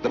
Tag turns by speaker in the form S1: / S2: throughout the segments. S1: The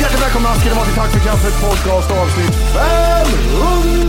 S2: Hjärtligt välkomna ska ni vara till Tack för kaffet podcast avsnitt 500!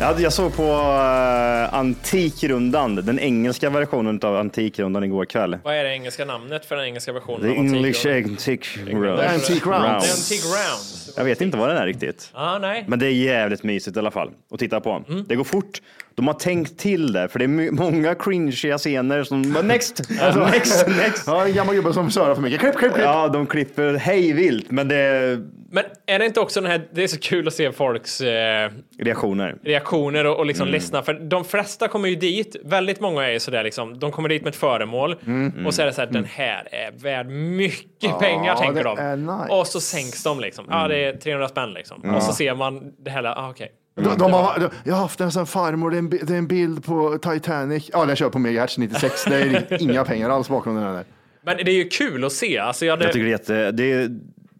S3: Ja, jag såg på eh, Antikrundan, den engelska versionen av Antikrundan igår kväll.
S4: Vad är det engelska namnet för den engelska versionen?
S3: The
S4: av Antique
S3: English
S4: Round?
S3: Antique
S4: Därför-
S3: Round.
S2: Antique Round.
S4: The Antique Round.
S3: Jag vet inte vad den är riktigt.
S4: Ah, nej. Mm.
S3: Men det är jävligt mysigt i alla fall att titta på. Det går fort. De har tänkt till det, för det är my- många cringiga scener som bara, next, alltså, next, next.
S2: Ja, en gammal gubbe som sörar för mycket. Klipp, klipp, klipp.
S3: Ja, de klipper hej vilt, men det är
S4: Men är det inte också den här, det är så kul att se folks eh,
S3: reaktioner.
S4: reaktioner och, och
S2: Mm.
S4: liksom ledsna, för de flesta kommer ju dit, väldigt många är ju sådär liksom, de kommer dit med ett föremål
S2: Mm.
S4: och så är det såhär, den här är värd mycket pengar tänker
S2: det
S4: de.
S2: är nice. Mm.
S4: Och så sänks de liksom, ja ah, det är 300 spänn liksom. Och så ser man det här, ah, okej.
S2: De, de har, de, jag har haft en sån farmor, det är en, bi- det är en bild på Titanic. Ja, den kör på megahertz 96. Det är riktigt inga pengar alls bakom den här. där.
S4: Men det är ju kul att se, alltså jag hade,
S3: Jag tycker det är jätte... Det är,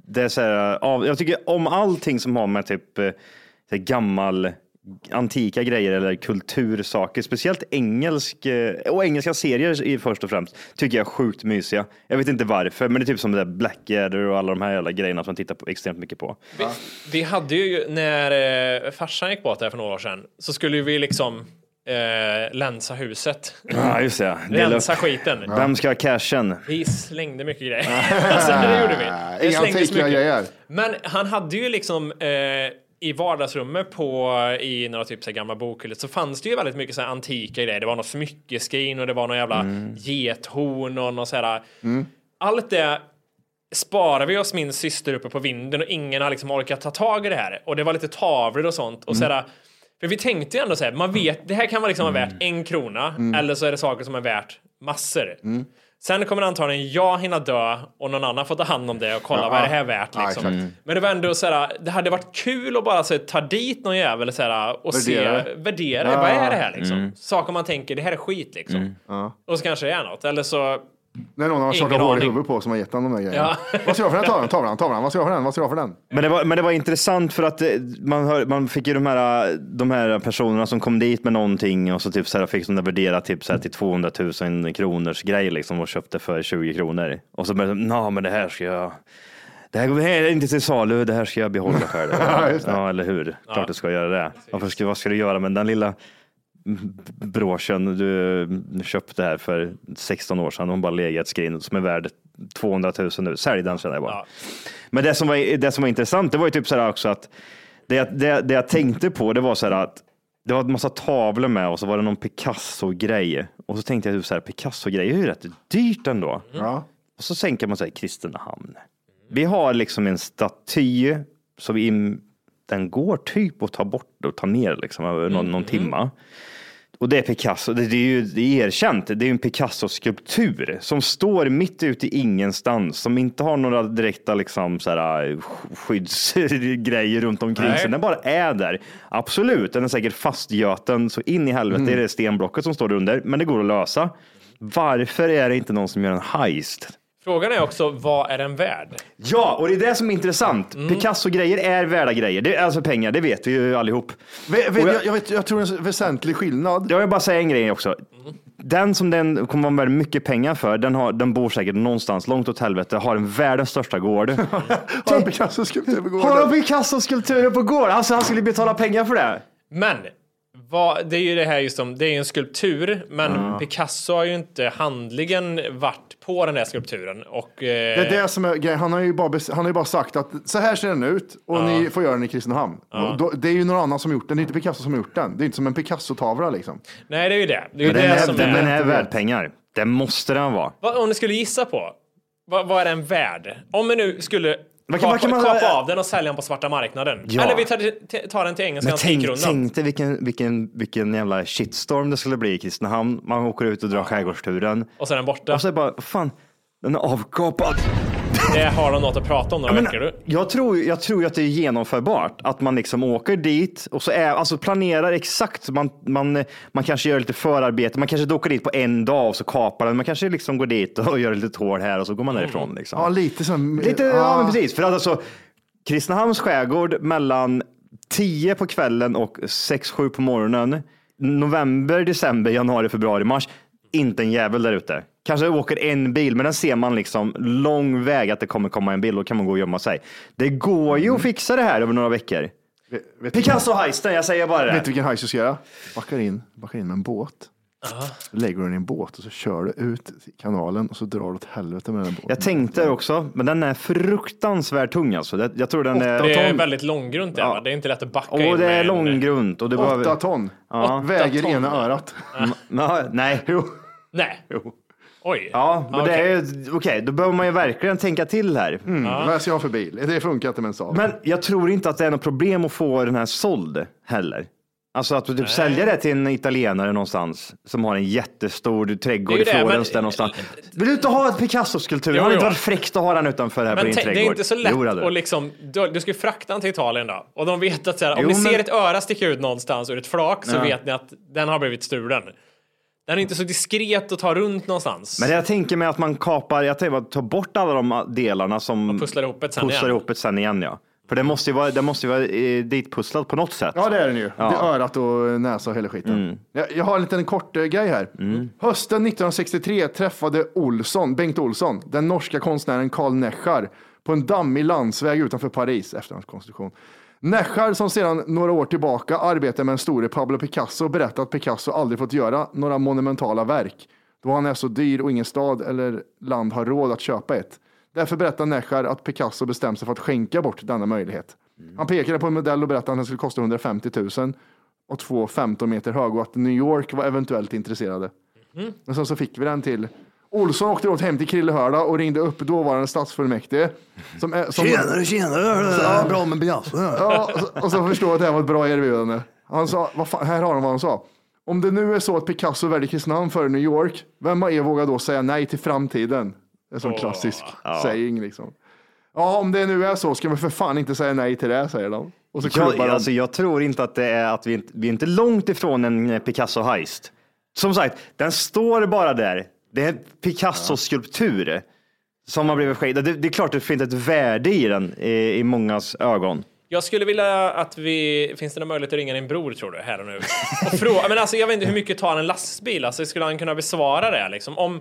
S3: det är så här, av, jag tycker om allting som har med typ eh, så här gammal, antika grejer eller kultursaker, speciellt engelsk eh, och engelska serier i först och främst, tycker jag är sjukt mysiga. Jag vet inte varför, men det är typ som det där Blackadder och alla de här jävla grejerna som jag tittar på, extremt mycket på.
S4: Vi, vi hade ju, när eh, farsan gick bort där för några år sedan, så skulle ju vi liksom eh, länsa huset.
S3: Ja, just det. Dela
S4: Rensa
S3: upp.
S4: skiten. liksom.
S3: Vem ska ha cashen?
S4: Vi slängde mycket grejer. alltså, det gjorde vi. Det
S2: Inga
S4: slängdes
S2: antika
S4: mycket.
S2: grejer.
S4: Men han hade ju liksom eh, i vardagsrummet på, i några typ så här gamla bokhyllor så fanns det ju väldigt mycket så här antika grejer. Det var något smyckeskrin och det var någon jävla gethorn och något så här. Allt det sparar vi oss min syster uppe på vinden och ingen har liksom orkat ta tag i det här. Och det var lite tavlor och sånt. Och
S2: Mm.
S4: så här, för vi tänkte ju ändå så här, man vet, det här kan vara liksom vara värt en krona
S2: Mm.
S4: eller så är det saker som är värt massor. Sen kommer antagligen jag hinna dö och någon annan får ta hand om det och kolla vad är det här värt.
S2: Ja,
S4: Liksom.
S2: exakt.
S4: Men det var ändå så här, det hade varit kul att bara så här, ta dit någon jävel så här, och
S2: Värdera. mm.
S4: se, värdera, vad är det här liksom? Saker man tänker, det här är skit liksom. Och så kanske det är något, eller så
S2: Det är någon han har startat
S4: Ingen
S2: hål i
S4: aning.
S2: huvudet på som har gett honom de där grejerna. Vad ska jag ha för den tavlan? Tavlan, tavlan. Vad ska jag ha för den? Vad ska jag ha för den?
S3: Men det, var, men det var intressant för att eh, man, hör, man fick ju de här, eh, de här personerna som kom dit med någonting och så typ så här fick de där värdera typ så här till 200 000 kronors grej liksom och köpte för 20 kronor. Och så började de, "Nå, men det här ska jag, det här, det här är inte till salu, det här ska jag behålla själv. ja, eller hur? Klart du ska göra det. Varför ska, vad ska du göra med den lilla broschen du köpte här för 16 år sedan. Hon bara legat i ett skrin som är värd 200 000 nu. Sälj den känner jag bara. Men det som, var, det som var intressant, det var ju typ så här också att det, jag- det, jag- det jag tänkte på, det var så här att Det var en massa tavlor med och så var det någon Picasso-grej. Och så tänkte jag typ så här, Picasso-grejer är ju rätt dyrt ändå.
S2: Ja.
S3: Och så tänker man så här, Kristinehamn. Vi har liksom en staty som vi in, den går typ att ta bort och ta ner liksom över någon, någon timma. Och det är Picasso, det, det är ju det är erkänt, det är ju en Picasso-skulptur som står mitt ute i ingenstans, som inte har några direkta liksom, så här, skyddsgrejer runt omkring
S4: Nej.
S3: sig. Den bara är där. Absolut, den är säkert fastgöten så in i helvete är det stenblocket som står under, men det går att lösa. Varför är det inte någon som gör en heist?
S4: Frågan är också, vad är den värd?
S3: Ja, och det är det som är intressant.
S4: Mm.
S3: Picasso-grejer är värda grejer. Det är alltså pengar, det vet vi ju allihop.
S2: Vet,
S3: Och
S2: vet,
S3: jag-
S2: jag, jag, vet, jag tror det är en väsentlig skillnad.
S3: Jag vill bara säga en grej också. Den som den kommer vara värd mycket pengar för, den, har, den bor säkert någonstans långt åt helvete, har en världens största gård.
S2: Har alltså, Picasso skulptur på
S3: har han
S2: gården?
S3: Picasso-skulpturer på gård? Alltså han skulle betala pengar för det.
S4: Men vad, det är ju det här just om, det är ju en skulptur, men Picasso har ju inte handlingen varit på den där skulpturen och... Eh,
S2: Det är det som är grejen. Han har ju bara, bes- han har ju bara sagt att så här ser den ut och ni får göra den i Kristinehamn. Och Då, det är ju någon annan som har gjort den. Det är inte Picasso som har gjort den. Det är inte som en Picasso-tavla liksom.
S4: Nej, det är ju det. Det är ju det
S3: Den är,
S4: som
S3: den, den
S4: är...
S3: är värd pengar. Det måste den vara.
S4: Vad, om du skulle gissa på, vad, vad är den värd? Om vi nu skulle
S3: Vad kan-
S4: kapa,
S3: vad kan man-
S4: kapa av den och sälja den på svarta marknaden.
S3: Ja.
S4: Eller vi tar, t- tar den till engelska
S3: Men tänk,
S4: antikrundan.
S3: tänk dig vilken, vilken, vilken jävla shitstorm det skulle bli i Kristinehamn. Man åker ut och drar skärgårdsturen.
S4: Och så är den borta.
S3: Och så är det bara, fan, den är avkapad.
S4: Det har de något att prata om några
S3: Men
S4: veckor. Du.
S3: jag, tror, jag tror ju att det är genomförbart att man liksom åker dit och så är, alltså planerar exakt. Man, man, man kanske gör lite förarbete. Man kanske inte åker dit på en dag och så kapar den. Man kanske liksom går dit och gör ett litet hål här och så går
S4: Mm.
S3: man därifrån. Liksom.
S2: Ja, lite som...
S3: Lite, ja, men precis. För att alltså, Kristinehamns skärgård mellan 10 på kvällen och 6-7 på morgonen. November, december, januari, februari, mars. Inte en jävel där ute. Kanske åker en bil, men den ser man liksom lång väg att det kommer komma en bil. Då kan man gå och gömma sig. Det går ju att fixa det här över några veckor.
S2: Vet, du-
S3: Picasso-heisten, jag säger bara
S2: vet
S3: det.
S2: du vilken hajs du ska göra? Backar in, backar in med en båt. Lägger den i en båt och så kör du ut i kanalen och så drar du åt helvete med den båten.
S3: Jag tänkte också, men den är fruktansvärt tung alltså. Det- Jag tror den
S4: Det
S3: är...
S4: är väldigt långgrunt det, va? Det är inte lätt att backa in
S3: Och det
S4: med
S3: är
S4: en-
S3: långgrunt. Och du
S2: Åtta
S3: behöver...
S2: ton.
S3: Ja.
S2: Väger
S4: ton.
S2: ena örat.
S3: Ja, Nej.
S4: Nej. Oj.
S3: Ja, men det
S4: okej. Mm.
S3: är ju, okej, då behöver man ju verkligen tänka till här.
S2: Vad ska jag ha för bil? Det funkar inte med en Saab.
S3: Men jag tror inte att det är något problem att få den här såld heller. Alltså att du typ säljer det till en italienare någonstans som har en jättestor
S4: Det
S3: trädgård i
S4: är ju det,
S3: Florens
S4: men-
S3: där någonstans. Vill du inte ha ett Picasso-skulptur?
S4: Jo,
S3: Hade det inte
S4: jo.
S3: varit fräckt att ha den utanför här på
S4: Men
S3: din
S4: tänk, det
S3: trädgård?
S4: är inte så lätt
S3: Jo, det hade
S4: att
S3: du.
S4: liksom, du, du ska ju frakta den till Italien då. Och de vet att så här, om
S3: Jo,
S4: ni
S3: men-
S4: ser ett öra sticka ut någonstans ur ett flak så
S3: Ja.
S4: vet ni att den har blivit stulen. Den är inte så diskret att ta runt någonstans.
S3: Men jag tänker mig att man kapar, jag tänker att ta bort alla de delarna som
S4: Och pusslar ihop det sen
S3: pusslar
S4: igen.
S3: ihop det sen igen ja. För det måste ju vara, det måste ju vara eh, ditpusslat på något sätt.
S2: Ja, det är den ju. Det är örat och näsa och hela skiten. Jag, jag har en liten kort eh, grej här. Hösten 1963 träffade Olsson, Bengt Olsson, den norska konstnären Karl Neschar på en dammig landsväg utanför Paris efter hans konstruktion. Neschar, som sedan några år tillbaka arbetar med den store Pablo Picasso, berättar att Picasso aldrig fått göra några monumentala verk då han är så dyr och ingen stad eller land har råd att köpa ett. Därför berättar Neschar att Picasso bestämt sig för att skänka bort denna möjlighet. Han pekade på en modell och berättade att den skulle kosta 150 000 och två 15 meter hög och att New York var eventuellt intresserade. Men sen så fick vi den till Olsson åkte åt hem till Krillehörda och ringde upp dåvarande stadsfullmäktige. Som, är- som,
S3: tjenare! Bra med Picasso.
S2: Ja, och så- och så förstår jag att det här var ett bra erbjudande. Han sa, vad fan, här har han vad han sa. Om det nu är så att Picasso väljer Kristinehamn före New York, vem av er vågar då säga nej till framtiden? En sån klassisk saying liksom. Ja, om det nu är så ska vi för fan inte säga nej till det, säger de. Och så klubbar
S3: Jag,
S2: de.
S3: alltså, jag tror inte att det är att vi inte, vi är inte långt ifrån en eh, Picasso-heist. Som sagt, den står bara där. Det är en Picasso-skulptur som har blivit skänkt. Det, det är klart det finns ett värde i den i, i mångas ögon.
S4: Jag skulle vilja att vi... Finns det någon möjlighet att ringa din bror tror du? Här och nu. Och fråga, men alltså jag vet inte hur mycket tar en lastbil? Alltså skulle han kunna besvara det liksom? Om,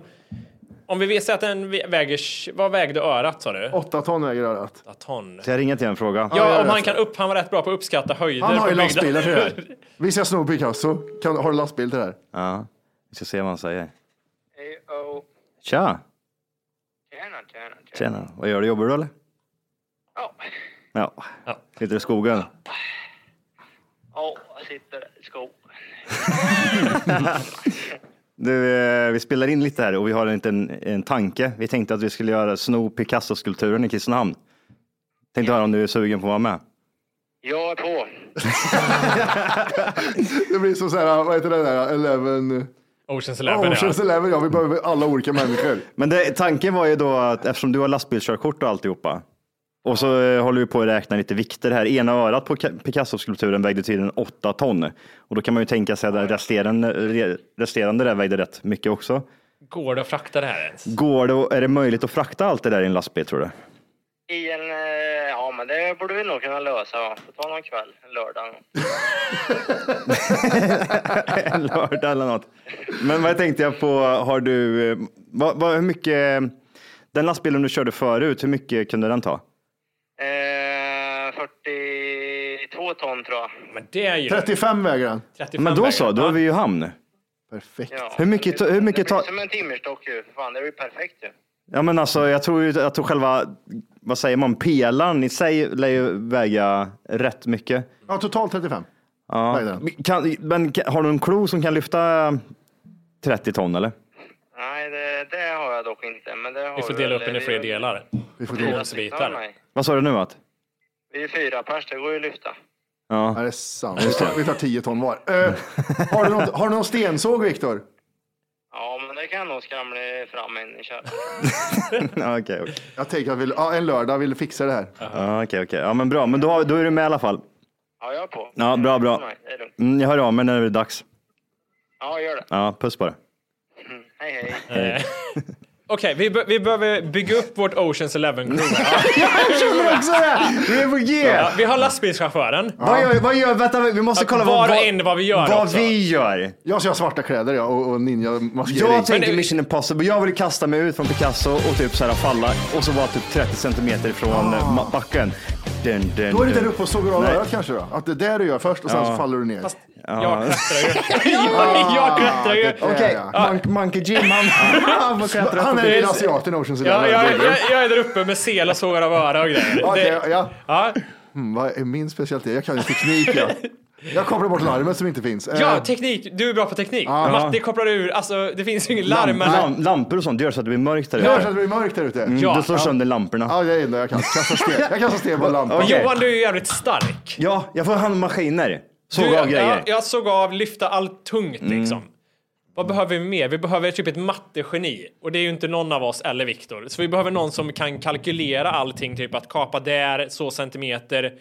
S4: om vi visar att den väger... Vad vägde örat sa du?
S2: Åtta ton väger örat.
S4: 8 ton.
S3: Så jag ringer till en fråga.
S2: jag
S4: Ja,
S2: gör
S4: om han
S2: det.
S3: alltså-
S4: kan upp... Han var rätt bra på att uppskatta höjder
S2: Han har ju
S4: på byggnader.
S2: lastbilar till det här. Vi ska sno Picasso. Kan, har du lastbil till det här?
S3: Ja, vi ska se vad han säger. Tja! Tjena, vad gör du? Jobbar du eller? Ja. Ja, sitter i skogen?
S5: Ja, jag sitter, Let's go.
S3: Du, eh, vi spelar in lite här och vi har inte en, en tanke. Vi tänkte att vi skulle göra sno Picasso-skulpturen i Kristinehamn. Tänkte höra om du är sugen på att vara med.
S5: Jag är på.
S2: Det blir som så här, vad heter det där, Eleven...
S4: Oceans Eleven,
S2: Oceans
S4: ja.
S2: Eleven, ja. Vi behöver alla olika människor.
S3: Men det, tanken var ju då att eftersom du har lastbilskörkort och alltihopa och så eh, håller vi på att räkna lite vikter här. Ena örat på Ka- Picasso-skulpturen vägde tydligen 8 ton och då kan man ju tänka sig att den resterande, re- resterande där vägde rätt mycket också.
S4: Går det att frakta det här ens?
S3: Går det, och- är det möjligt att frakta allt det där i en lastbil tror du?
S5: I en... eh, Ja, men det borde vi nog kunna lösa. va. Får ta någon kväll, en lördag.
S3: en lördag eller något. Men vad tänkte jag på, har du, eh, vad, vad, hur mycket, den lastbilen du körde förut, hur mycket kunde den ta?
S5: Eh, 42 ton tror jag.
S4: Men det är ju
S2: 35 väger den.
S4: 35
S3: Men då
S4: vägar.
S3: så, då är vi ju i hamn.
S2: Perfekt.
S5: Ja.
S3: Hur mycket, hur
S5: Det
S3: mycket
S5: blir
S3: tar,
S5: som en timmerstock ju. Fan, det blir perfekt ju.
S3: ja men alltså jag tror ju att själva, vad säger man, pelaren i sig lär ju väga rätt mycket.
S2: Ja, totalt 35. Ja. Den.
S3: Kan, men kan- har du en klo som kan lyfta 30 ton eller?
S5: Nej, det, det har jag dock inte. Men det har
S4: Vi får
S5: du
S4: dela
S5: väl.
S4: upp den i
S5: Vi-
S4: fler delar.
S2: Vi får
S5: vi är fyra
S2: dela.
S4: Tvångsbitar.
S5: stycken av mig.
S3: Vad sa du nu att?
S5: Vi är fyra pers, det går ju att lyfta.
S2: Ja, det är sant. Vi tar, vi tar 10 ton var. Eh, har, du någon, har du någon stensåg, Viktor?
S5: Ja, men det kan jag nog skramla fram en kärlek.
S3: Ja, Okej, okej.
S2: Jag tänker att vi, ja, en lördag vill fixa det här.
S3: Ja, okej, okej. Ja, men bra, men då, har- då är du med i alla fall.
S5: Ja, jag är på.
S3: Ja, bra, bra.
S5: Nej, det är lugnt.
S3: Mm, jag hör av mig när det är dags.
S5: Ja, gör det. Mm,
S3: Ja, puss på dig.
S5: Hej, hej.
S4: Eh, Okej, vi, be- vi behöver bygga upp vårt Oceans Eleven crew.
S3: Vi är på G!
S4: Ja, vi har lastbilschauffören.
S3: Vad gör, vad gör, vänta, vi måste kolla
S4: var
S3: vad,
S4: och en vad vi gör
S3: Vad
S4: också.
S3: vi gör.
S2: Jag ska ha svarta kläder ja, och, och ninja-maskering.
S3: Jag tänker
S4: det-
S3: Mission Impossible. Jag vill kasta mig ut från Picasso och typ så här falla och så vara typ 30 centimeter från ah. backen. Dun, dun,
S2: Då är du
S3: dun.
S2: där uppe och sågar av
S3: Nej.
S2: örat kanske då? Att det är där du gör först och sen så faller du ner.
S4: Jag klättrar ju. Jag, jag klättrar ju.
S2: Okej.
S3: Okej,
S2: Ja,
S3: Mon- Monkey Jim, han, han får klättra
S2: Han
S3: upp.
S2: är
S4: Det är-
S2: den asiaten i Oceans
S4: Ja,
S2: Eleven.
S4: jag, jag, jag är där uppe med sel och sågar av öra och grejer.
S2: Okej,
S4: Det-
S2: ja.
S4: Ja,
S2: Mm, vad är min specialitet? Jag kan ju teknik ja. Jag kopplar bort larmet som inte finns. Eh,
S4: ja, teknik. Du är bra på teknik. Matte kopplar ur. Alltså, det finns ju ingen larm. men-
S3: Eh, Lam, lampor och sånt, det gör så att det blir mörkt där
S2: det hörs att det
S3: ute.
S2: blir mörkt där ute.
S3: Mm, Du slår sönder lamporna.
S2: Ja, det är det enda jag kan. Kasta sten. Jag kastar sten på lampan.
S3: Okej.
S4: Johan, du är ju jävligt stark.
S3: Ja, jag får hand om maskiner.
S4: Du,
S3: Såga av
S4: ja,
S3: grejer. Mm.
S4: jag såg av, lyfta allt tungt liksom. Vad behöver vi mer? Vi behöver typ ett mattegeni. Och det är ju inte någon av oss eller Viktor. Så vi behöver någon som kan kalkylera allting. Typ att kapa där, så centimeter.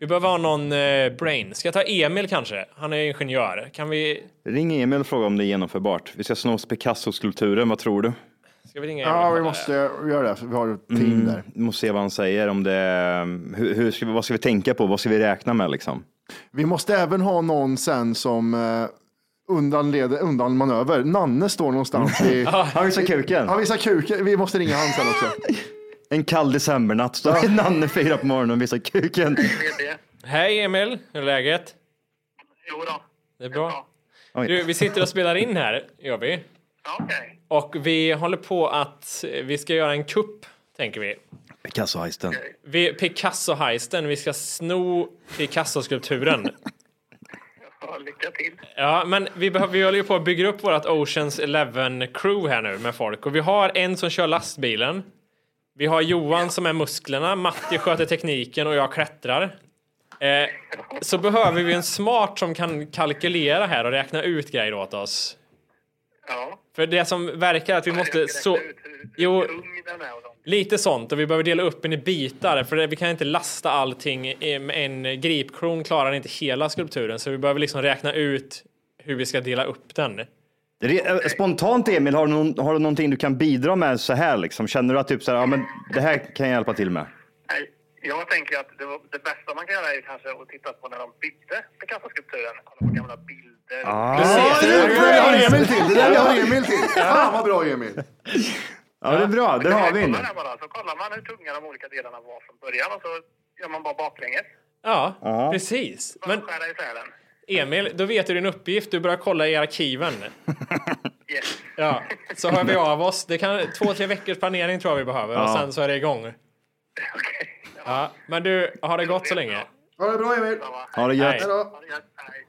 S4: Vi behöver ha någon eh, brain. Ska jag ta Emil kanske? Han är ingenjör. Kan vi...
S3: Ring Emil och fråga om det är genomförbart. Vi ska sno Picasso-skulpturen, vad tror du?
S4: Ska vi ringa Emil?
S2: Ja, vi måste göra det. Vi har ett team där.
S3: Vi måste se vad han säger om det. Hur, hur ska vi, vad ska vi tänka på? Vad ska vi räkna med liksom?
S2: Vi måste även ha någon sen som eh, undanleder, undanmanöver. Nanne står någonstans i...
S3: Han visar kuken.
S2: Han visar kuken. Vi måste ringa han sen också.
S3: En kall decembernatt. Står Nanne fyra på morgonen och visar kuken.
S5: GD.
S4: Hej Emil, hur är läget?
S5: Jo då.
S4: Det är bra.
S3: Oj.
S4: Du, vi sitter och spelar in här, gör vi.
S5: Ja, Okej.
S4: Och vi håller på att eh, vi ska göra en kupp, tänker vi.
S3: Picasso-heisten.
S4: vi Picasso-heisten, vi ska sno Picasso-skulpturen.
S5: Ja, Lycka till.
S4: Ja, men vi, behöver, vi håller ju på att bygga upp vårt Oceans Eleven-crew här nu med folk. Och vi har en som kör lastbilen. Vi har Johan som är musklerna, Matti sköter tekniken och jag klättrar. Eh, så behöver vi en smart som kan kalkylera här och räkna ut grejer åt oss.
S5: Ja.
S4: För det som verkar att vi måste...
S5: Jag ska
S4: Så,
S5: räkna ut hur- hur
S4: jo,
S5: tung den är och sånt.
S4: lite sånt. Och vi behöver dela upp den i bitar. För det- vi kan inte lasta allting. i- med En gripkron klarar inte hela skulpturen. Så vi behöver liksom räkna ut hur vi ska dela upp den.
S3: Re- eh, Spontant Emil, har du, någon, har du någonting du kan bidra med så här liksom? Känner du att typ så här, ja men det här kan jag hjälpa till med?
S5: Nej, Jag tänker att det, var, det bästa man kan göra är kanske att titta på när de byggde Picasso-skulpturen. Kolla på gamla bilder.
S2: Ja, det där vill jag ha Emil till. Det där vill jag ha Emil till. Fan vad bra Emil.
S3: Ja det är bra, där har vi en.
S5: Kolla där bara, så kollar man hur tunga de olika delarna var från början och så gör man bara baklänges.
S4: Ja, precis.
S5: Bara
S4: Men
S5: skära isär den.
S4: Emil, då vet du din uppgift. Du börjar kolla i arkiven.
S5: Yes.
S4: Ja, så hör vi av oss. Det kan, två, tre veckors planering tror jag vi behöver. Och sen så är det igång.
S5: Okej.
S4: Ja, men du, har det gått så länge?
S2: Ha det bra Emil.
S3: Ha det
S4: Nej.
S3: gött.
S2: Hej då.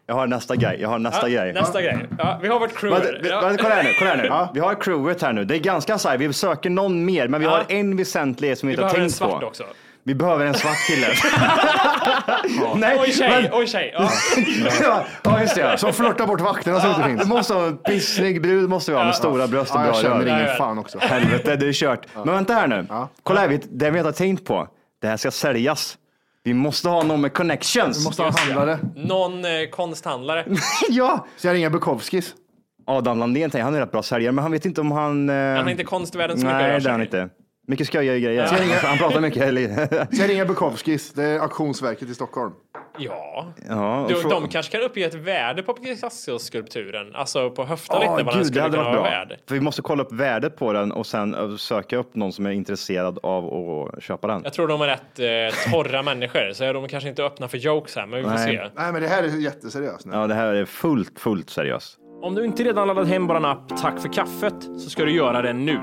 S3: Jag har nästa grej. Jag har nästa
S4: ja,
S3: grej.
S4: Nästa grej. Ja, vi har vårt
S3: Vänta,
S4: crew.
S3: vänta, kolla här nu, kolla här nu. Vi har crewet här nu. Det är ganska så här, vi söker någon mer, men vi
S4: Ja.
S3: har en väsentlighet som vi
S4: Vi
S3: inte har
S4: behöver en
S3: tänkt
S4: svart
S3: på.
S4: också.
S3: Vi behöver en svart kille. Nej,
S4: Oj tjej,
S3: men-
S4: oj tjej. Ja.
S3: ja, just det. ja.
S2: Som flörtar bort vakterna som inte finns.
S3: Det måste vara en pissnygg brud måste vi ha med stora bröst och
S2: Ja, jag
S3: bra
S2: känner
S3: rör.
S2: ingen fan också.
S3: Helvete, det är kört. Men vänta här nu. Kolla här, vi- det vi inte har tänkt på. Det här ska säljas. Vi måste ha någon med connections.
S2: Måste ha en handlare.
S4: Någon eh, konsthandlare.
S3: Ja!
S2: Så jag ringer Bukowskis.
S3: Adam Landén, tänker jag, han är rätt bra säljare, men han vet inte om han... eh,
S4: Han är inte konstvärldens mycket att
S3: Nej,
S4: göra,
S3: det är han
S4: känner
S3: inte. Mycket skojiga grejer. Han, han pratar mycket. eller-
S2: Så jag ringer Bukowskis. Det är auktionsverket i Stockholm.
S4: Ja.
S3: ja, och
S4: Du,
S3: frå-
S4: de kanske kan uppge ett värde på Picasso-skulpturen. Alltså på höften
S3: Ja,
S4: lite vad den
S3: gud, det
S4: skulle
S3: hade
S4: kunna
S3: varit
S4: vara
S3: bra.
S4: värd.
S3: För vi måste kolla upp värdet på den och sen eh, söka upp någon som är intresserad av att köpa den.
S4: Jag tror de är rätt eh, torra människor, så de kanske inte är öppna för jokes här, men vi får
S3: Nej.
S4: se.
S2: Nej men det här är jätteseriöst nu.
S3: Ja, det här är fullt, fullt seriöst.
S6: Om du inte redan laddat hem vår app Tack för kaffet så ska du göra det nu.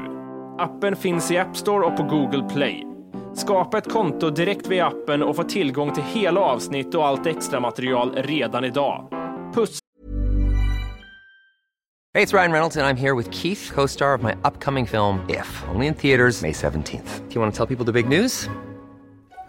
S6: Appen finns i App Store och på Google Play. Skapa ett konto direkt via appen och få tillgång till hela avsnitt och allt extra material redan idag. Puss!
S7: Hey, it's Ryan Reynolds, and I'm here with Keith, co star of my upcoming film, If, only in theaters, May 17th. Do you want to tell people the big news? All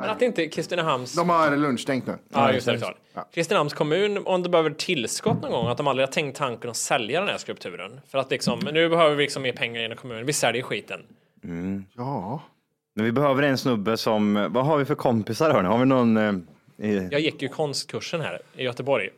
S4: Men att inte Kristinehamns...
S2: De har lunchstängt nu.
S4: Ja, just det. det är klart. Kristinehamns kommun, om det behöver tillskott någon gång, att de aldrig har tänkt tanken att sälja den här skulpturen. För att liksom, nu behöver vi liksom mer pengar inom kommunen, vi säljer skiten.
S2: Ja.
S3: Men vi behöver en snubbe som, vad har vi för kompisar hörni? Har vi någon? Eh, i-
S4: Jag gick ju konstkursen här i Göteborg.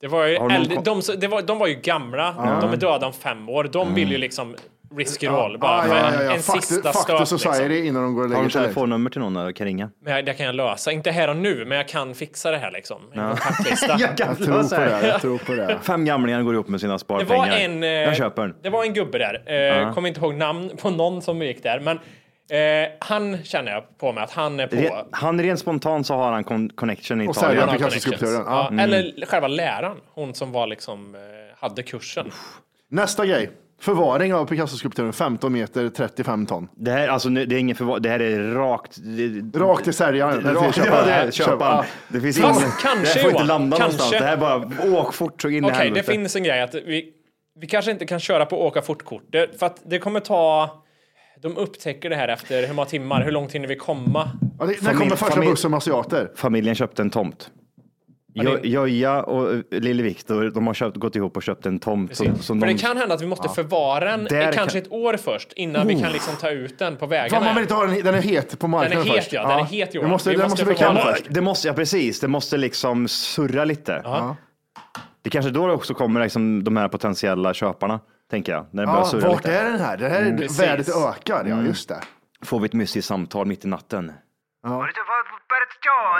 S4: Det var ju
S3: Har du någon
S4: äldre,
S3: kon-
S4: de, som- det var, de var ju gamla, de är döda om fem år. De vill ju liksom risk it all, bara
S2: Ah,
S4: för
S2: ja, ja, ja.
S4: en
S2: Fuck, the-
S4: sista
S2: fuck the
S4: stöt.
S2: society
S4: Liksom.
S2: innan de går och
S3: har
S2: lägger
S3: du
S2: sig.
S3: telefonnummer till någon där och kan ringa?
S4: Men det kan jag lösa, inte här och nu, men jag kan fixa det här liksom. En kontaktlista.
S3: kan
S2: Jag tror på det. här, Jag tror på det. här.
S3: Fem gamlingar går ihop med sina
S4: Det
S3: sparpengar.
S4: var en... eh,
S3: Jag köper den.
S4: Det var en gubbe där. Eh, Kommer inte ihåg namn på någon som gick där, men eh, han känner jag på mig att han är på.
S3: Re- Han rent spontant så har han con- connection i
S2: Och
S3: Italien.
S2: säljer
S4: Han har
S2: Picasso-skulpturen.
S4: connections.
S2: Ja.
S3: mm.
S4: Ja, Eller själva läraren, hon som var liksom, eh, hade kursen.
S2: Nästa grej. Förvaring av Picasso-skulpturen 15 meter 35 ton.
S3: Det här, alltså, nu- det är ingen förvar- det här är rakt... det-
S2: Rakt till säljaren.
S3: Rakt,
S2: Till
S3: ja,
S2: köparen.
S3: det är
S2: Ja.
S3: köparen. Det finns
S4: Fast
S3: ingen-
S4: kanske,
S3: det här får inte
S4: Johan,
S3: landa
S4: kanske.
S3: någonstans. Det här bara åk fort så in i
S4: Okej, det
S3: helvete.
S4: finns en grej att vi, vi kanske inte kan köra på åka fort-kort. Det- För att det kommer ta... De upptäcker det här efter hur många timmar, hur långt hinner vi komma?
S2: Ja, det, när
S3: Familj-
S2: kommer första
S3: familj-
S2: bussen med asiater?
S3: Familjen köpte en tomt.
S4: det-
S3: Jo- Joja och eh, lille Viktor, de har köpt, gått ihop och köpt en tomt. Som, som
S4: För
S3: de,
S4: det kan hända att vi måste förvara den
S3: Där
S4: i kanske
S3: kan- Oh.
S4: ett år först innan vi kan liksom ta ut den på
S2: Fan,
S4: vägarna.
S2: man vill inte ha den, den är het på
S4: Den
S2: marknaden
S4: är het
S2: först.
S4: ja, den är het Johan.
S2: Den måste,
S4: Vi
S2: den måste
S4: måste
S2: bli kall
S4: förvara den.
S2: först.
S3: det måste, ja precis, det måste liksom surra lite. Det kanske då också kommer liksom de här potentiella köparna, tänker jag. När det börjar
S2: Ja,
S3: surra
S2: vart
S3: lite. Mm.
S2: är den här? Det här är
S4: Mm, Precis.
S2: värdet ökar, ja just det.
S3: Får vi ett mysigt samtal mitt i natten.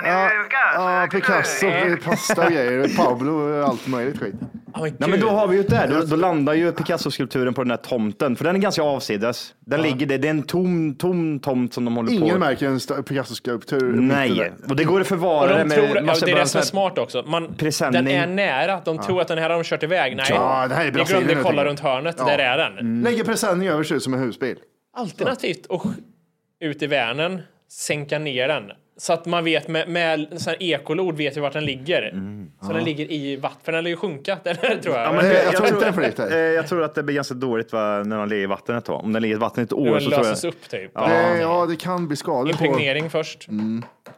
S2: Ja, ja, Picasso, pasta och grejer, Pablo, allt möjligt skit.
S4: Ja, men
S3: Nej men
S4: gud.
S3: då har vi ju det. Då, då landar ju Picasso-skulpturen på den här tomten, för den är ganska avsides. Den ligger där, det är en tom, tom tomt som de håller på
S2: Ingen märker en sta- Picasso-skulptur. mitt i
S3: Nej,
S2: det.
S3: och det går att
S4: Och
S3: förvara
S4: de tror, ja,
S3: massa
S4: det är
S3: bra
S4: det som är
S3: så här-
S4: smart också. Man,
S3: presenning.
S4: den är nära. De tror att den här har de kört iväg. Nej,
S2: Ja, det här är
S4: vi
S2: Brasilien,
S4: glömde
S2: jag
S4: kolla
S2: tänker.
S4: runt hörnet.
S2: Ja.
S4: Där är den.
S3: Mm.
S2: Lägger presenning över sig ut som en husbil.
S4: Alternativt och ut i Vänern, sänka ner den. Så att man vet med, med sån här ekolod vet vi vart den ligger.
S3: Mm.
S4: Så den ligger i vatten, för den lär ju sjunka. Den här, tror jag.
S2: men- Jag tror inte
S3: att-
S2: den flyter.
S3: eh, Jag tror att det blir ganska dåligt va, när de ligger i vatten ett tag. Om den ligger i vatten ett
S4: Hur
S3: år
S4: den
S3: så tror
S4: löses
S3: jag...
S4: upp typ.
S2: Det, ja, det kan bli skador på...
S3: Mm.
S4: Impregnering först.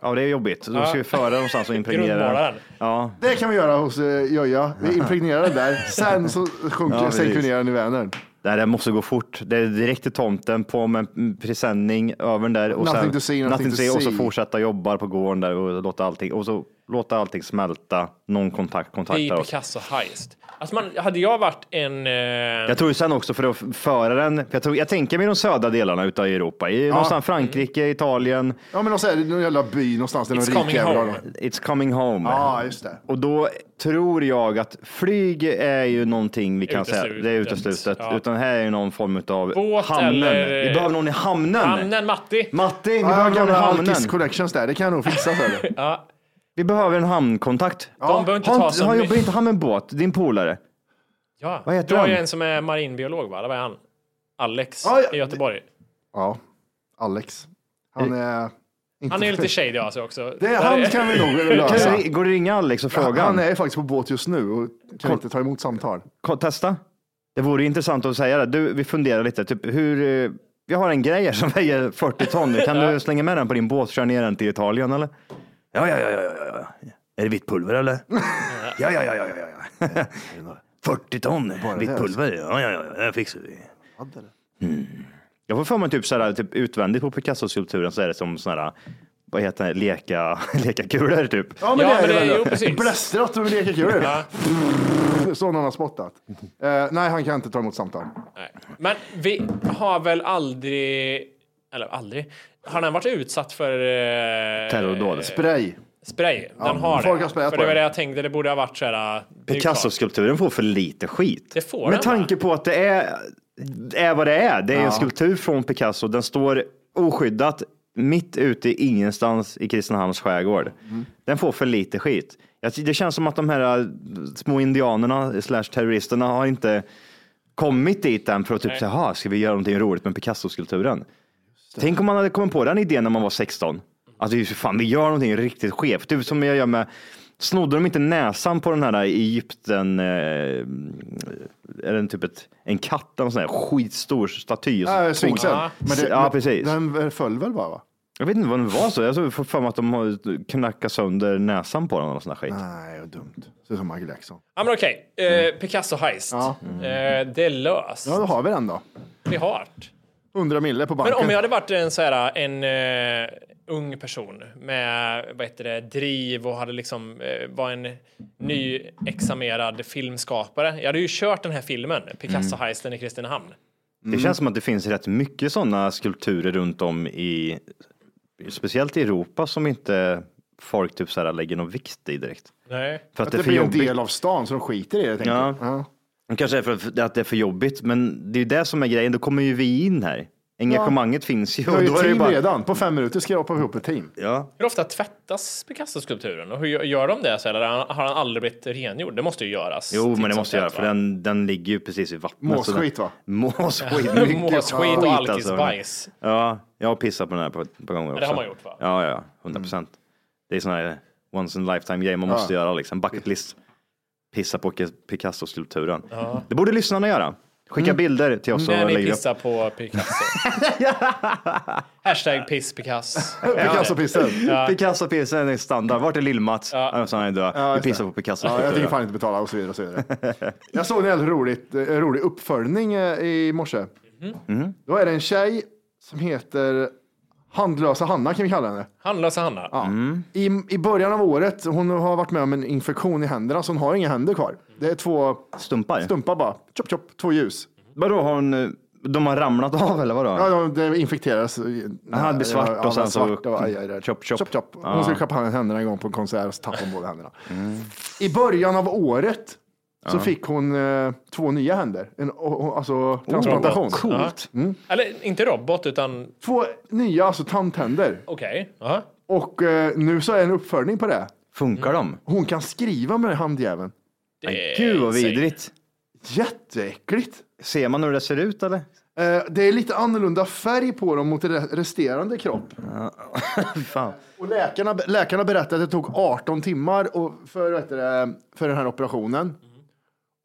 S3: Ja, det är jobbigt. Då
S2: Ja.
S3: ska vi föra någonstans och impregnera.
S2: Grundmålaren.
S3: Ja.
S2: Det kan vi göra hos eh, Joja. Vi impregnerar den där. Sen så sjunker,
S3: Ja,
S2: sänker vi
S3: precis.
S2: ner den i Vänern.
S3: Nej, det måste gå fort. Det är direkt till tomten, på med en presenning, över den där. Och
S2: Nothing
S3: sen,
S2: to see, nothing to
S3: see, Och så
S2: see.
S3: fortsätta jobba på gården där och låta allting, och så låta allting smälta. Någon kontakt
S4: Det är
S3: kontaktar oss.
S4: Picasso Heist. Alltså man, hade jag varit en... Eh,
S3: Jag tror sen också för att föra den, för jag, tror, jag tänker mig de södra delarna utav Europa, i någonstans Frankrike, Italien.
S2: Ja, men och så är det någon jävla by någonstans. där någon rik jävel har någon-
S3: It's coming home.
S2: Ja, just det.
S3: Och då tror jag att flyg är ju någonting vi kan säga, det är
S4: Uteslutet.
S3: uteslutet,
S4: Ja.
S3: utan här är ju någon form av
S4: Båt
S3: hamnen.
S4: eller...
S3: Vi behöver någon i hamnen.
S4: Hamnen, Matti.
S3: Matti, vi
S2: Ja,
S3: behöver
S2: jag
S3: någon i
S2: gamla
S3: hamnen.
S2: Alkis Collections där, det kan jag nog fixa. Så här.
S4: ja.
S3: Vi behöver en hamnkontakt.
S4: De behöver inte
S3: har,
S4: ta så
S3: har,
S4: mycket-
S3: jobbar inte han med en båt? Din polare?
S4: Ja.
S3: Vad heter
S4: du har ju
S3: han?
S4: en som är marinbiolog, va? Eller vad är han? Alex
S2: Ja, ja.
S4: i Göteborg.
S2: Ja, Alex.
S3: Eh,
S2: Han är... Inte
S4: Han är ju lite shady alltså också.
S2: Det, han kan vi nog lösa.
S3: Kan- Går det att ringa Alex och fråga?
S2: Han är faktiskt på båt just nu och kan
S3: Kom.
S2: inte ta emot samtal.
S3: Ko- Testa. Det vore intressant att säga det. Du, vi funderar lite. Typ, hur, eh, vi har en grej här som väger 40 ton. Kan du slänga med den på din båt och köra ner den till Italien eller? Ja, ja, ja, ja, ja, ja. Är det vitt pulver eller? ja, ja, ja, ja, ja, ja. 40 ton vitt pulver. Ja, ja, ja, alltså. det fixar vi. Mm. Jag får för mig typ, såhär, typ utvändigt på Picasso-skulpturen så är det som sådana här, vad heter det, leka, lekakulor typ.
S2: Ja, men det är det,
S4: jo,
S2: väl.
S4: precis.
S2: Blästrat och leker kul.
S4: Ja.
S2: Sån han har spottat. Eh, nej, han kan inte ta emot samtal.
S4: Eh, Men vi har väl aldrig... Eller aldrig? Har den varit utsatt för... Eh,
S3: Terrordåd.
S2: Spray.
S4: Spray. Den
S3: Ja,
S4: har
S3: folk
S4: det.
S3: har sprayat
S4: För
S3: på
S4: det var
S3: den.
S4: det jag tänkte, det borde ha varit så här... eh, det är ju klart.
S3: Picasso-skulpturen får för lite skit.
S4: Det får den,
S3: Med
S4: va?
S3: tanke på att det är, är vad det är. Det är
S4: Ja.
S3: en skulptur från Picasso. Den står oskyddat mitt ute i ingenstans i Kristinehamns skärgård. Den får för lite skit. Jag- Det känns som att de här äh, små indianerna slash terroristerna har inte kommit dit än för att typ
S4: Nej.
S3: säga, "Jaha, ska vi göra någonting roligt med Picasso-skulpturen? Tänk om man hade kommit på den idén när man var 16. Alltså, just fan, vi gör någonting riktigt skevt. Typ som jag gör med, snodde de inte näsan på den här Egypten, eh, är den typ ett, en katt, en sån här skitstor staty?
S2: Äh, Sphinxen.
S3: Ja,
S2: Men det-
S3: ja
S2: men
S3: precis.
S2: Den föll väl bara? Va?
S3: Jag vet inte vad den var så, jag får för mig att de har knackat sönder näsan på den och sån här skit.
S2: Nej, vad dumt. Ser ut som Michael Jackson.
S4: Ja, men okej. Eh,
S3: Mm.
S4: Picasso Heist. Eh, det är löst.
S2: Ja, då har vi den då.
S4: Vi har det.
S2: 100 mille på banken.
S4: Men om jag hade varit en, så här, en eh, ung person med vad heter det, driv och hade liksom, eh, var en nyexaminerad filmskapare. Jag hade ju kört den här filmen,
S3: Mm.
S4: Picasso-heisten i Kristinehamn.
S2: Mm.
S3: Det känns som att det finns rätt mycket sådana skulpturer runt om i, speciellt i Europa, som inte folk typ så här lägger någon vikt i direkt.
S4: Nej.
S3: För att
S2: att
S3: det
S2: det,
S3: är för
S2: blir
S3: jobbigt.
S2: en del av stan så de skiter i det. Tänker
S3: Ja.
S2: jag. Ja.
S3: Det kanske är för att- att det är för jobbigt, men det är ju det som är grejen. Då kommer ju vi in här. Engagemanget finns ju.
S2: Vi har ju
S3: och då är det
S2: team
S3: bara-
S2: redan. På fem minuter skrapar vi ihop ett team.
S3: Ja.
S4: Hur ofta tvättas Picasso-skulpturen? Och hur gör- gör de det? Så här, eller har han aldrig blivit rengjord? Det måste ju göras.
S3: Jo, men
S4: titt
S3: det
S4: som
S3: måste jag göra,
S4: tätt,
S3: för
S4: va?
S3: den, den ligger ju precis i vattnet. så den-
S2: Måsskit, va?
S3: Måsskit. mycket
S4: Måsskit och
S3: skit, alltså.
S4: alkisbajs.
S3: Ja, jag har pissat på den här på, på gånger också.
S4: det har man gjort, va?
S3: Ja, ja, 100 procent. Det är sån här once in a lifetime grej man
S4: Ja.
S3: måste göra liksom. Bucket list. Pissa på Ke- Picasso-skulpturen.
S4: Mm. Ja.
S3: Det borde lyssnarna göra. Skicka bilder till oss
S4: När
S3: och
S4: ni
S3: lägg upp.
S4: pissar på Picasso. Hashtag piss Picasso.
S3: Picasso-pissen.
S4: Ja.
S3: Picasso-pissen är standard. Vart är Lill-Mats? Ja. Han är död.
S2: Ja,
S3: Vi
S2: just det.
S3: pissar på Picasso.
S2: Ja, jag tänker fan inte betala och så vidare. Och så vidare. Jag såg en jävligt roligt, eh, rolig uppföljning eh, i morse. Då är det en tjej som heter Handlösa Hanna kan vi kalla henne.
S4: Handlösa Hanna.
S2: Ja. I, I början av året, hon har varit med om en infektion i händerna så hon har inga händer kvar. Det är två
S3: stumpar.
S2: Stumpar bara. Chop, chop, två ljus.
S3: Vadå, har hon, eh, de har ramlat av eller vadå?
S2: Ja, de, det infekteras.
S3: Aha, det blir svart
S2: Ja,
S3: och sen
S2: ja,
S3: så-
S2: svart och- aj, aj, aj.
S3: Chop, chop.
S2: chop, chop.
S3: Ja. Mm.
S2: Hon skulle klappa händerna en gång på en konsert och så tappade hon båda händerna. I början av året så
S3: Ja. Oh,
S2: fick hon eh, två nya händer. En, o- o- alltså transplantation.
S4: robot. Coolt.
S2: Mm.
S4: Eller inte robot, utan
S2: Två nya alltså tandtänder.
S4: okej. ja.
S2: Och eh, nu så är en uppföljning på det.
S3: Funkar de?
S2: Hon kan skriva med den här handjäveln.
S3: Men gud vad vidrigt.
S2: Jätteäckligt.
S3: Ser man hur det ser ut eller?
S2: Eh, det är lite annorlunda färg på dem mot re- resterande kropp.
S3: Fan.
S2: Och läkarna, läkarna berättade att det tog 18 timmar och för, vet du, det, för den här operationen.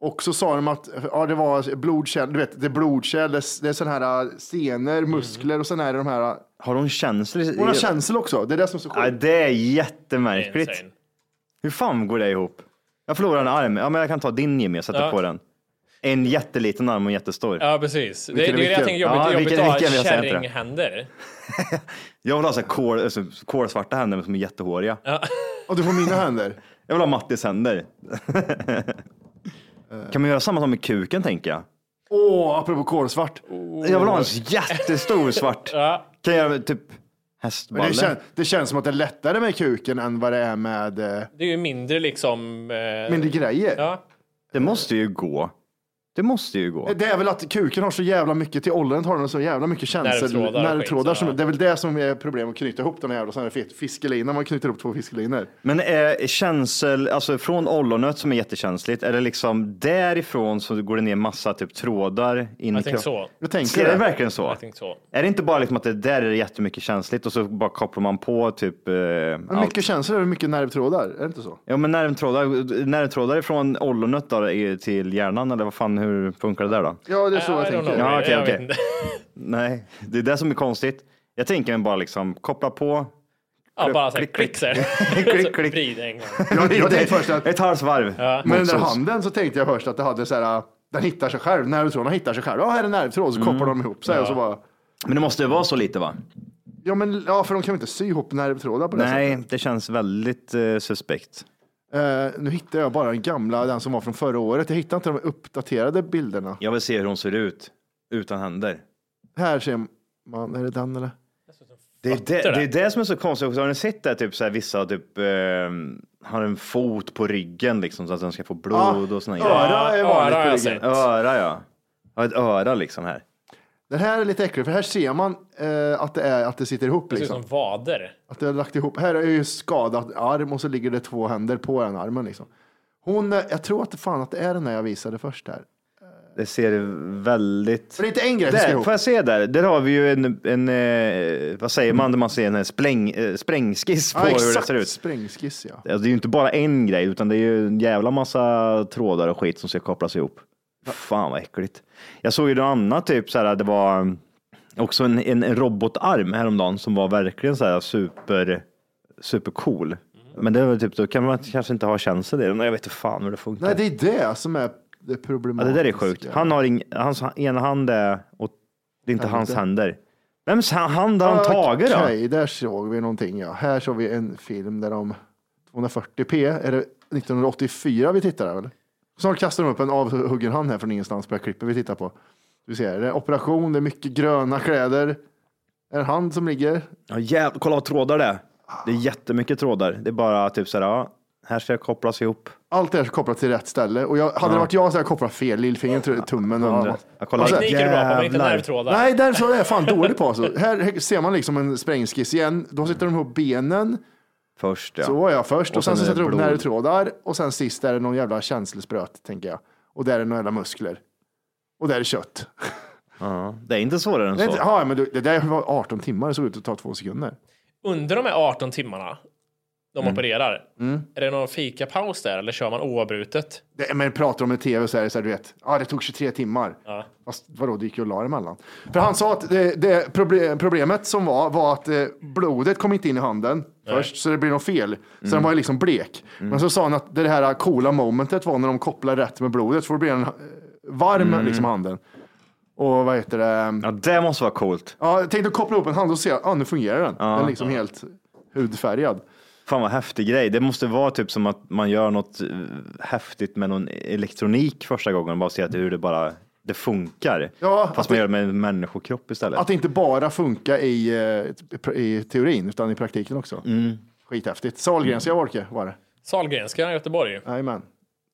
S2: Och så sa de att ja, det var blodkärl, du vet, det är blodkärl, det är, det är sådana här scener, muskler och sen är det de här... eh,
S3: Har de känslor? i-
S2: Hon har känslor också, det är det som är så sjukt.
S3: Ja, det är jättemärkligt. Hur fan går det ihop? Jag förlorar en arm. Ja, men jag kan ta din Jimmy och sätta
S4: Ja.
S3: på den. En jätteliten arm och en jättestor.
S4: Ja, precis. Det, det är
S3: Vilken är
S4: det jag
S3: vilken?
S4: tänker jobbigt,
S3: Ja,
S4: jobbigt
S3: vilken är vilken?
S4: att
S3: Jag
S4: ha
S3: säger inte det.
S4: kärringhänder.
S3: Jag vill ha så här kol, alltså, kolsvarta händer men som är jättehåriga.
S4: Ja.
S2: Och du får mina händer?
S3: Jag vill ha Mattis händer. kan man göra samma som med kuken tänker jag?
S2: Åh, apropå kolsvart.
S3: Jag vill ha en jättestor svart. Kan jag göra med typ
S2: Men
S3: hästballe?
S2: det, kän, det känns som att det är lättare med kuken än vad det är med... eh,
S4: Det är ju mindre liksom... Eh,
S2: Mindre grejer.
S4: Ja.
S3: Det måste ju gå. Det måste ju gå.
S2: Eh, Det är väl att kuken har så jävla mycket, till åldern har den så jävla mycket känsel.
S3: Nervtrådar och
S2: Nervtrådar.
S3: skit,
S2: Som, det är väl det som är problemet, att knyta ihop den här jävla sån här fet- fiskelina. Man knyter ihop två fiskelinor.
S3: Men är känsel, alltså från ollonet som är jättekänsligt, är det liksom därifrån så går det ner massa typ trådar in
S4: Jag
S3: i
S4: tänker
S3: kroppen?
S4: så.
S2: Jag tänker
S3: är det,
S2: det.
S3: verkligen så?
S4: Jag tänkte så.
S3: Är det inte bara liksom att det där är jättemycket känsligt och så bara kopplar man på typ eh,
S2: Men
S3: allt?
S2: mycket känslor och mycket nervtrådar, är det inte så?
S3: Ja men nervtrådar, nervtrådar från ollonet då, i- till hjärnan eller vad fan, hur funkar det där då?
S2: Ja, det är så jag
S3: don't
S2: tänker.
S3: know. Ja, okej, Jag okej. vet inte. Nej, det är det som är konstigt. Jag tänker mig bara liksom koppla på.
S4: Ja, bara så här, klick så här.
S3: klick, klick.
S4: Vrid en gång.
S2: Jag, jag tänkte först att...
S3: Ett halvsvarv.
S2: Med den där
S3: Motsols.
S2: handen så tänkte jag först att det hade så här, den hittar sig själv, nervtrådarna hittar sig själv. Ja, här är en nervtråd, så kopplar de ihop sig och så bara...
S3: Men det måste ju vara så lite va?
S2: Ja, men ja, för de kan väl inte sy ihop nervtrådar på det sättet.
S3: Nej, det känns väldigt eh, suspekt.
S2: Eh, nu hittade jag bara den gamla, den som var från förra året. Jag hittade inte de uppdaterade bilderna.
S3: Jag vill se hur hon ser ut utan händer.
S2: Här ser man, är det den eller?
S3: Det är det,
S2: det.
S3: det är det som är så konstigt också. Har ni sett det? Typ så här, vissa typ, eh, har en fot på ryggen liksom så att den ska få blod
S2: Ah,
S3: och såna
S2: öra är vanligt på
S3: öra,
S2: ryggen.
S3: Öra ja. Ja, ett öra liksom här.
S2: Den här är lite äcklig, för här ser man eh, att, det är, att det sitter ihop.
S4: Det ser ut
S2: Liksom.
S4: som vader.
S2: Att det har lagt ihop. Här är ju skadat arm och så ligger det två händer på den armen. Liksom. Hon, eh, jag tror att det fan att det är den där jag visade först här.
S3: Det ser väldigt...
S2: För det är inte en grej som ska
S3: Där,
S2: ihop.
S3: får jag se där? Där har vi ju en, en eh, vad säger man när man ser en här spräng, eh, sprängskiss på
S2: Ja,
S3: hur det
S2: exakt.
S3: ser ut.
S2: Sprängskiss ja.
S3: Alltså, det är ju inte bara en grej, utan det är ju en jävla massa trådar och skit som ska kopplas ihop. Fan vad äckligt. Jag såg ju något annat, typ så här, det var um, också en, en en robotarm häromdagen som var verkligen så här super, supercool.
S2: Mm.
S3: Men det var typ, då kan man kanske inte ha känsel i den. Jag vet inte fan hur det funkar.
S2: Nej, det är det som är det
S3: Ja,
S2: problematiska.
S3: det där är sjukt. Han har ing, hans ena hand är, och det är inte
S2: Händer.
S3: hans händer. Vems ha- hand har han tagit då?
S2: Okej, där såg vi någonting ja. Här såg vi en film där de 240p, är det 1984 vi tittar här, eller? Snart kastar de upp en avhuggen hand här från ingenstans på det här klippet vi tittar på. Du ser, det är operation, det är mycket gröna kläder. En hand som ligger.
S3: Ja, jävlar, kolla vad trådar det är. Det är jättemycket trådar. Det är bara typ så här, ja, här ska jag kopplas ihop.
S2: Allt det här är kopplat till rätt ställe. Och jag, hade det
S3: Ja.
S2: varit jag så hade jag kopplat fel lillfingret, tr- tummen och
S3: Hundra.
S2: annat.
S3: Ja, kolla.
S2: Och så-
S3: Teknik är det bra på, men inte Jävlar. nervtrådar.
S2: Nej, där så är jag fan dålig på alltså. Här ser man liksom en sprängskiss igen. Då sitter de ihop benen.
S3: Först ja.
S2: Så var jag först och, sen,
S3: är
S2: så
S3: det
S2: sätter du upp
S3: blod.
S2: nervtrådar och sen sist är det någon jävla känselspröt tänker jag. Och där är några jävla muskler. Och där är kött.
S3: Ja, det är inte svårare än
S2: Det, är
S3: så.
S2: inte, ja, men du, det där var 18 timmar, det såg ut att ta två sekunder.
S4: Under de här 18 timmarna de
S2: Mm.
S4: opererar,
S2: Mm.
S4: är det någon fikapaus där eller kör man oavbrutet?
S2: Det, men pratar de med tv så är det så här, du vet, ja det tog 23 timmar.
S4: Ja.
S2: Fast vadå, det gick ju och la emellan. För han sa att det, det proble- problemet som var, var att eh, blodet kom inte in i handen
S3: Nej. Mm.
S2: först, så det blev något fel. Så den var ju liksom blek. Men så sa han att det här coola momentet var när de kopplade rätt med blodet, så det blev en eh, varm
S3: Mm.
S2: liksom handen. Och vad heter det?
S3: Ja, det måste vara coolt.
S2: Ja, jag tänkte koppla upp en hand och se, ja nu fungerar den.
S3: Ja.
S2: Den är liksom helt hudfärgad.
S3: Fan vad häftig grej. Det måste vara typ som att man gör något eh, häftigt med någon elektronik första gången och bara ser att hur det bara det funkar.
S2: Ja,
S3: Fast man gör det med en människokropp istället.
S2: Att det inte bara funkar i, eh, i teorin, utan i praktiken också.
S3: Mm.
S2: Skithäftigt. Sahlgrenska Wolke var det.
S4: Sahlgrenska i Göteborg.
S2: Jajamän.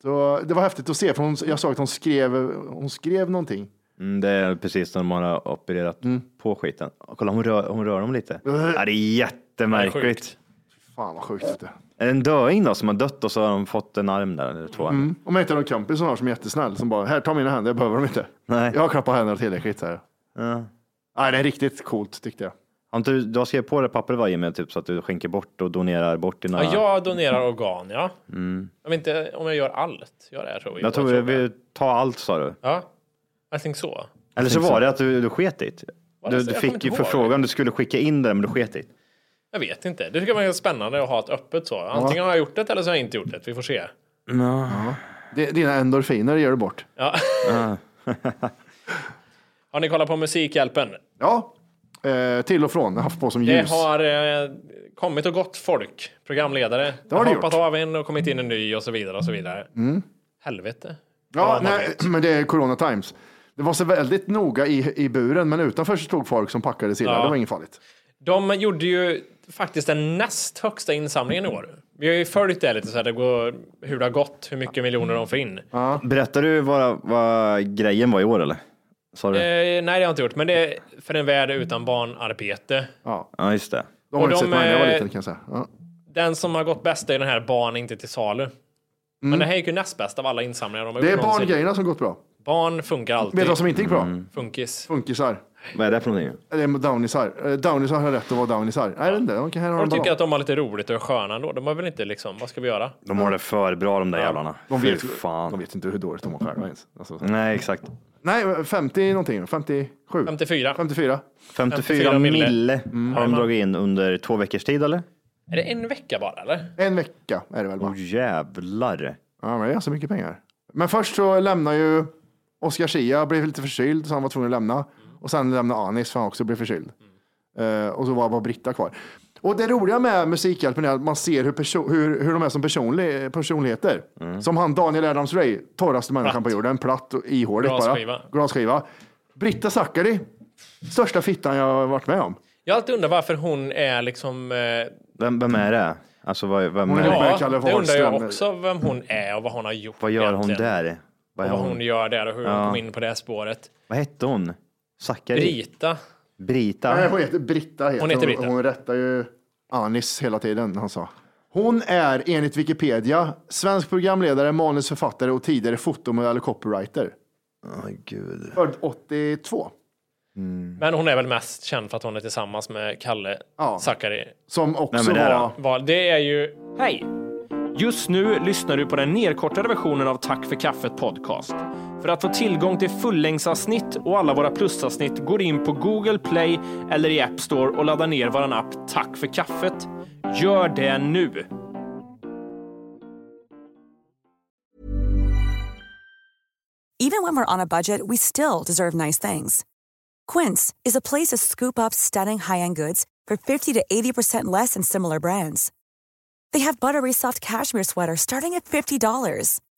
S2: Så det var häftigt att se, för hon, jag såg att hon skrev, hon skrev någonting.
S3: Mm, det är precis när man har opererat på skiten. Och Kolla, hon rör, hon rör dem lite. Mm. Ja, det är jättemärkligt.
S2: Fan vad sjukt. Vet du.
S3: Är det en döing då som har dött och så har de fått en arm där eller två?
S2: Mm. Om jag inte har någon kompis som har som är jättesnäll, som bara, här ta mina händer, jag behöver dem inte.
S3: Nej.
S2: Jag har klappat händerna tillräckligt. Så här.
S3: Ja.
S2: Nej, det är riktigt coolt tyckte jag.
S3: Ante, du, du har skrivit på det pappret varje med typ så att du skänker bort och donerar bort dina...
S4: Ja, jag donerar organ, ja.
S3: Mm.
S4: Jag vet inte om jag gör allt. Gör det här, tror jag.
S3: Jag tror jag vill ta allt sa du.
S4: Ja, I think so.
S3: Eller så var det att du, du sket dit.
S4: Var det
S3: Du,
S4: så?
S3: du
S4: Jag kommer
S3: fick ju
S4: inte ihåg.
S3: förfrågan, du skulle skicka in det men du sket dit.
S4: Jag vet inte. Det tycker jag är spännande att ha ett öppet så. Antingen har jag gjort det eller så har jag inte gjort det. Vi får se.
S2: Ja. Det- Dina endorfiner ger du bort.
S4: Ja. Har ni kollat på Musikhjälpen?
S2: Ja, eh, till och från. Jag har haft på som ljus.
S4: Det har eh, kommit och gått folk, programledare.
S2: Det har det
S4: hoppat av en och kommit in en ny och så vidare och så vidare.
S2: Mm.
S4: Helvete.
S2: Ja, nej, men det är Corona Times. Det var så väldigt noga i, i buren, men utanför så stod folk som packade sillar.
S4: Ja.
S2: Det var inget farligt.
S4: De gjorde ju faktiskt den näst högsta insamlingen i år. Vi har ju följt det lite så här, det går, hur det har gått, hur mycket miljoner de får in. Eh,
S3: Berättar du vad, vad grejen var i år eller? Sa
S4: Eh,
S3: du?
S4: nej, det har jag inte gjort, men det är för en värld utan barnarbete.
S3: Ja, just det.
S4: De har Och inte sett de, mig när jag var eh, liten, kan
S2: jag säga. Ja.
S4: Den som har gått bäst är den här Barn inte till salu. Men det här gick ju näst bäst av alla insamlingar de har
S2: Mm. Det är
S4: gjort någonsin.
S2: barngrejerna som gått bra.
S4: Barn funkar alltid.
S2: Vet du vad som inte gick bra?
S4: Mm. Funkis.
S2: Funkisar.
S3: Vad är det för någonting?
S2: Det är downisar. Eh, Downisar har rätt att vara downisar. Nej, jag vet inte. Okej, här har
S4: Och
S2: de
S4: de tycker
S2: bra.
S4: att de har lite roligt och är sköna ändå. De har väl inte liksom, vad ska vi göra?
S3: De har det för bra de där jävlarna.
S2: De vet-
S3: Fy fan. Mm.
S2: de vet inte hur dåligt de har själva ens. Alltså, så.
S3: Nej, exakt.
S2: Nej, 50 någonting. 57.
S4: 54.
S2: 54.
S3: 54 mille, har de
S2: Jajamän.
S3: dragit in under två veckors tid eller?
S4: Är det en vecka bara eller?
S2: En vecka är det väl bara.
S3: Åh jävlar.
S2: Ja, men det är så mycket pengar. Men först så lämnar ju Oscar Schia, blev lite förkyld så han var tvungen att lämna. Och sen lämnade Anis för han också blev förkyld. Eh, och så var bara Britta kvar. Och det roliga med Musikhjälpen är att man ser hur, perso- hur, hur de är som personli- personligheter. Som han Daniel Adams-Ray, torraste människan på jorden, platt och ihåligt
S4: Glasskiva.
S2: bara. Glasskiva. Britta Zackari, största fittan jag har varit med om.
S4: Jag har alltid undrat varför hon är liksom... Eh,
S3: Vem, vem är det? Alltså vad, vem
S4: ja,
S3: är det?
S4: det undrar jag också vem hon är och vad hon har gjort
S3: Vad gör hon
S4: egentligen.
S3: där? Vad,
S4: Och
S3: är
S4: vad hon,
S3: hon?
S4: gör där och hur hon
S3: Ja.
S4: kom in på det här spåret.
S3: vad hette hon? Zackari?
S4: Brita.
S3: Brita?
S2: Nej, hon heter Britta. Heter
S4: Hon heter Britta.
S2: Hon, hon rättar ju Anis hela tiden, han sa. Hon är enligt Wikipedia svensk programledare, manusförfattare och tidigare fotomodell och copywriter.
S3: Åh gud.
S2: Född 82.
S4: Men hon är väl mest känd för att hon är tillsammans med Kalle Zackari.
S2: Som också
S6: Nej, men det är
S2: var...
S4: Var- Det är ju...
S6: Hej! Just nu lyssnar du på den nedkortade versionen av Tack för kaffet podcast. För att få tillgång till fullängdsavsnitt och alla våra plusavsnitt går in på Google Play eller i App Store och laddar ner vår app Tack för kaffet. Gör det nu!
S8: Even when we're on a budget, we still deserve nice things. Quince is a place to scoop up stunning high-end goods for 50 to 80% less than similar brands. They have buttery soft cashmere sweaters starting at $50,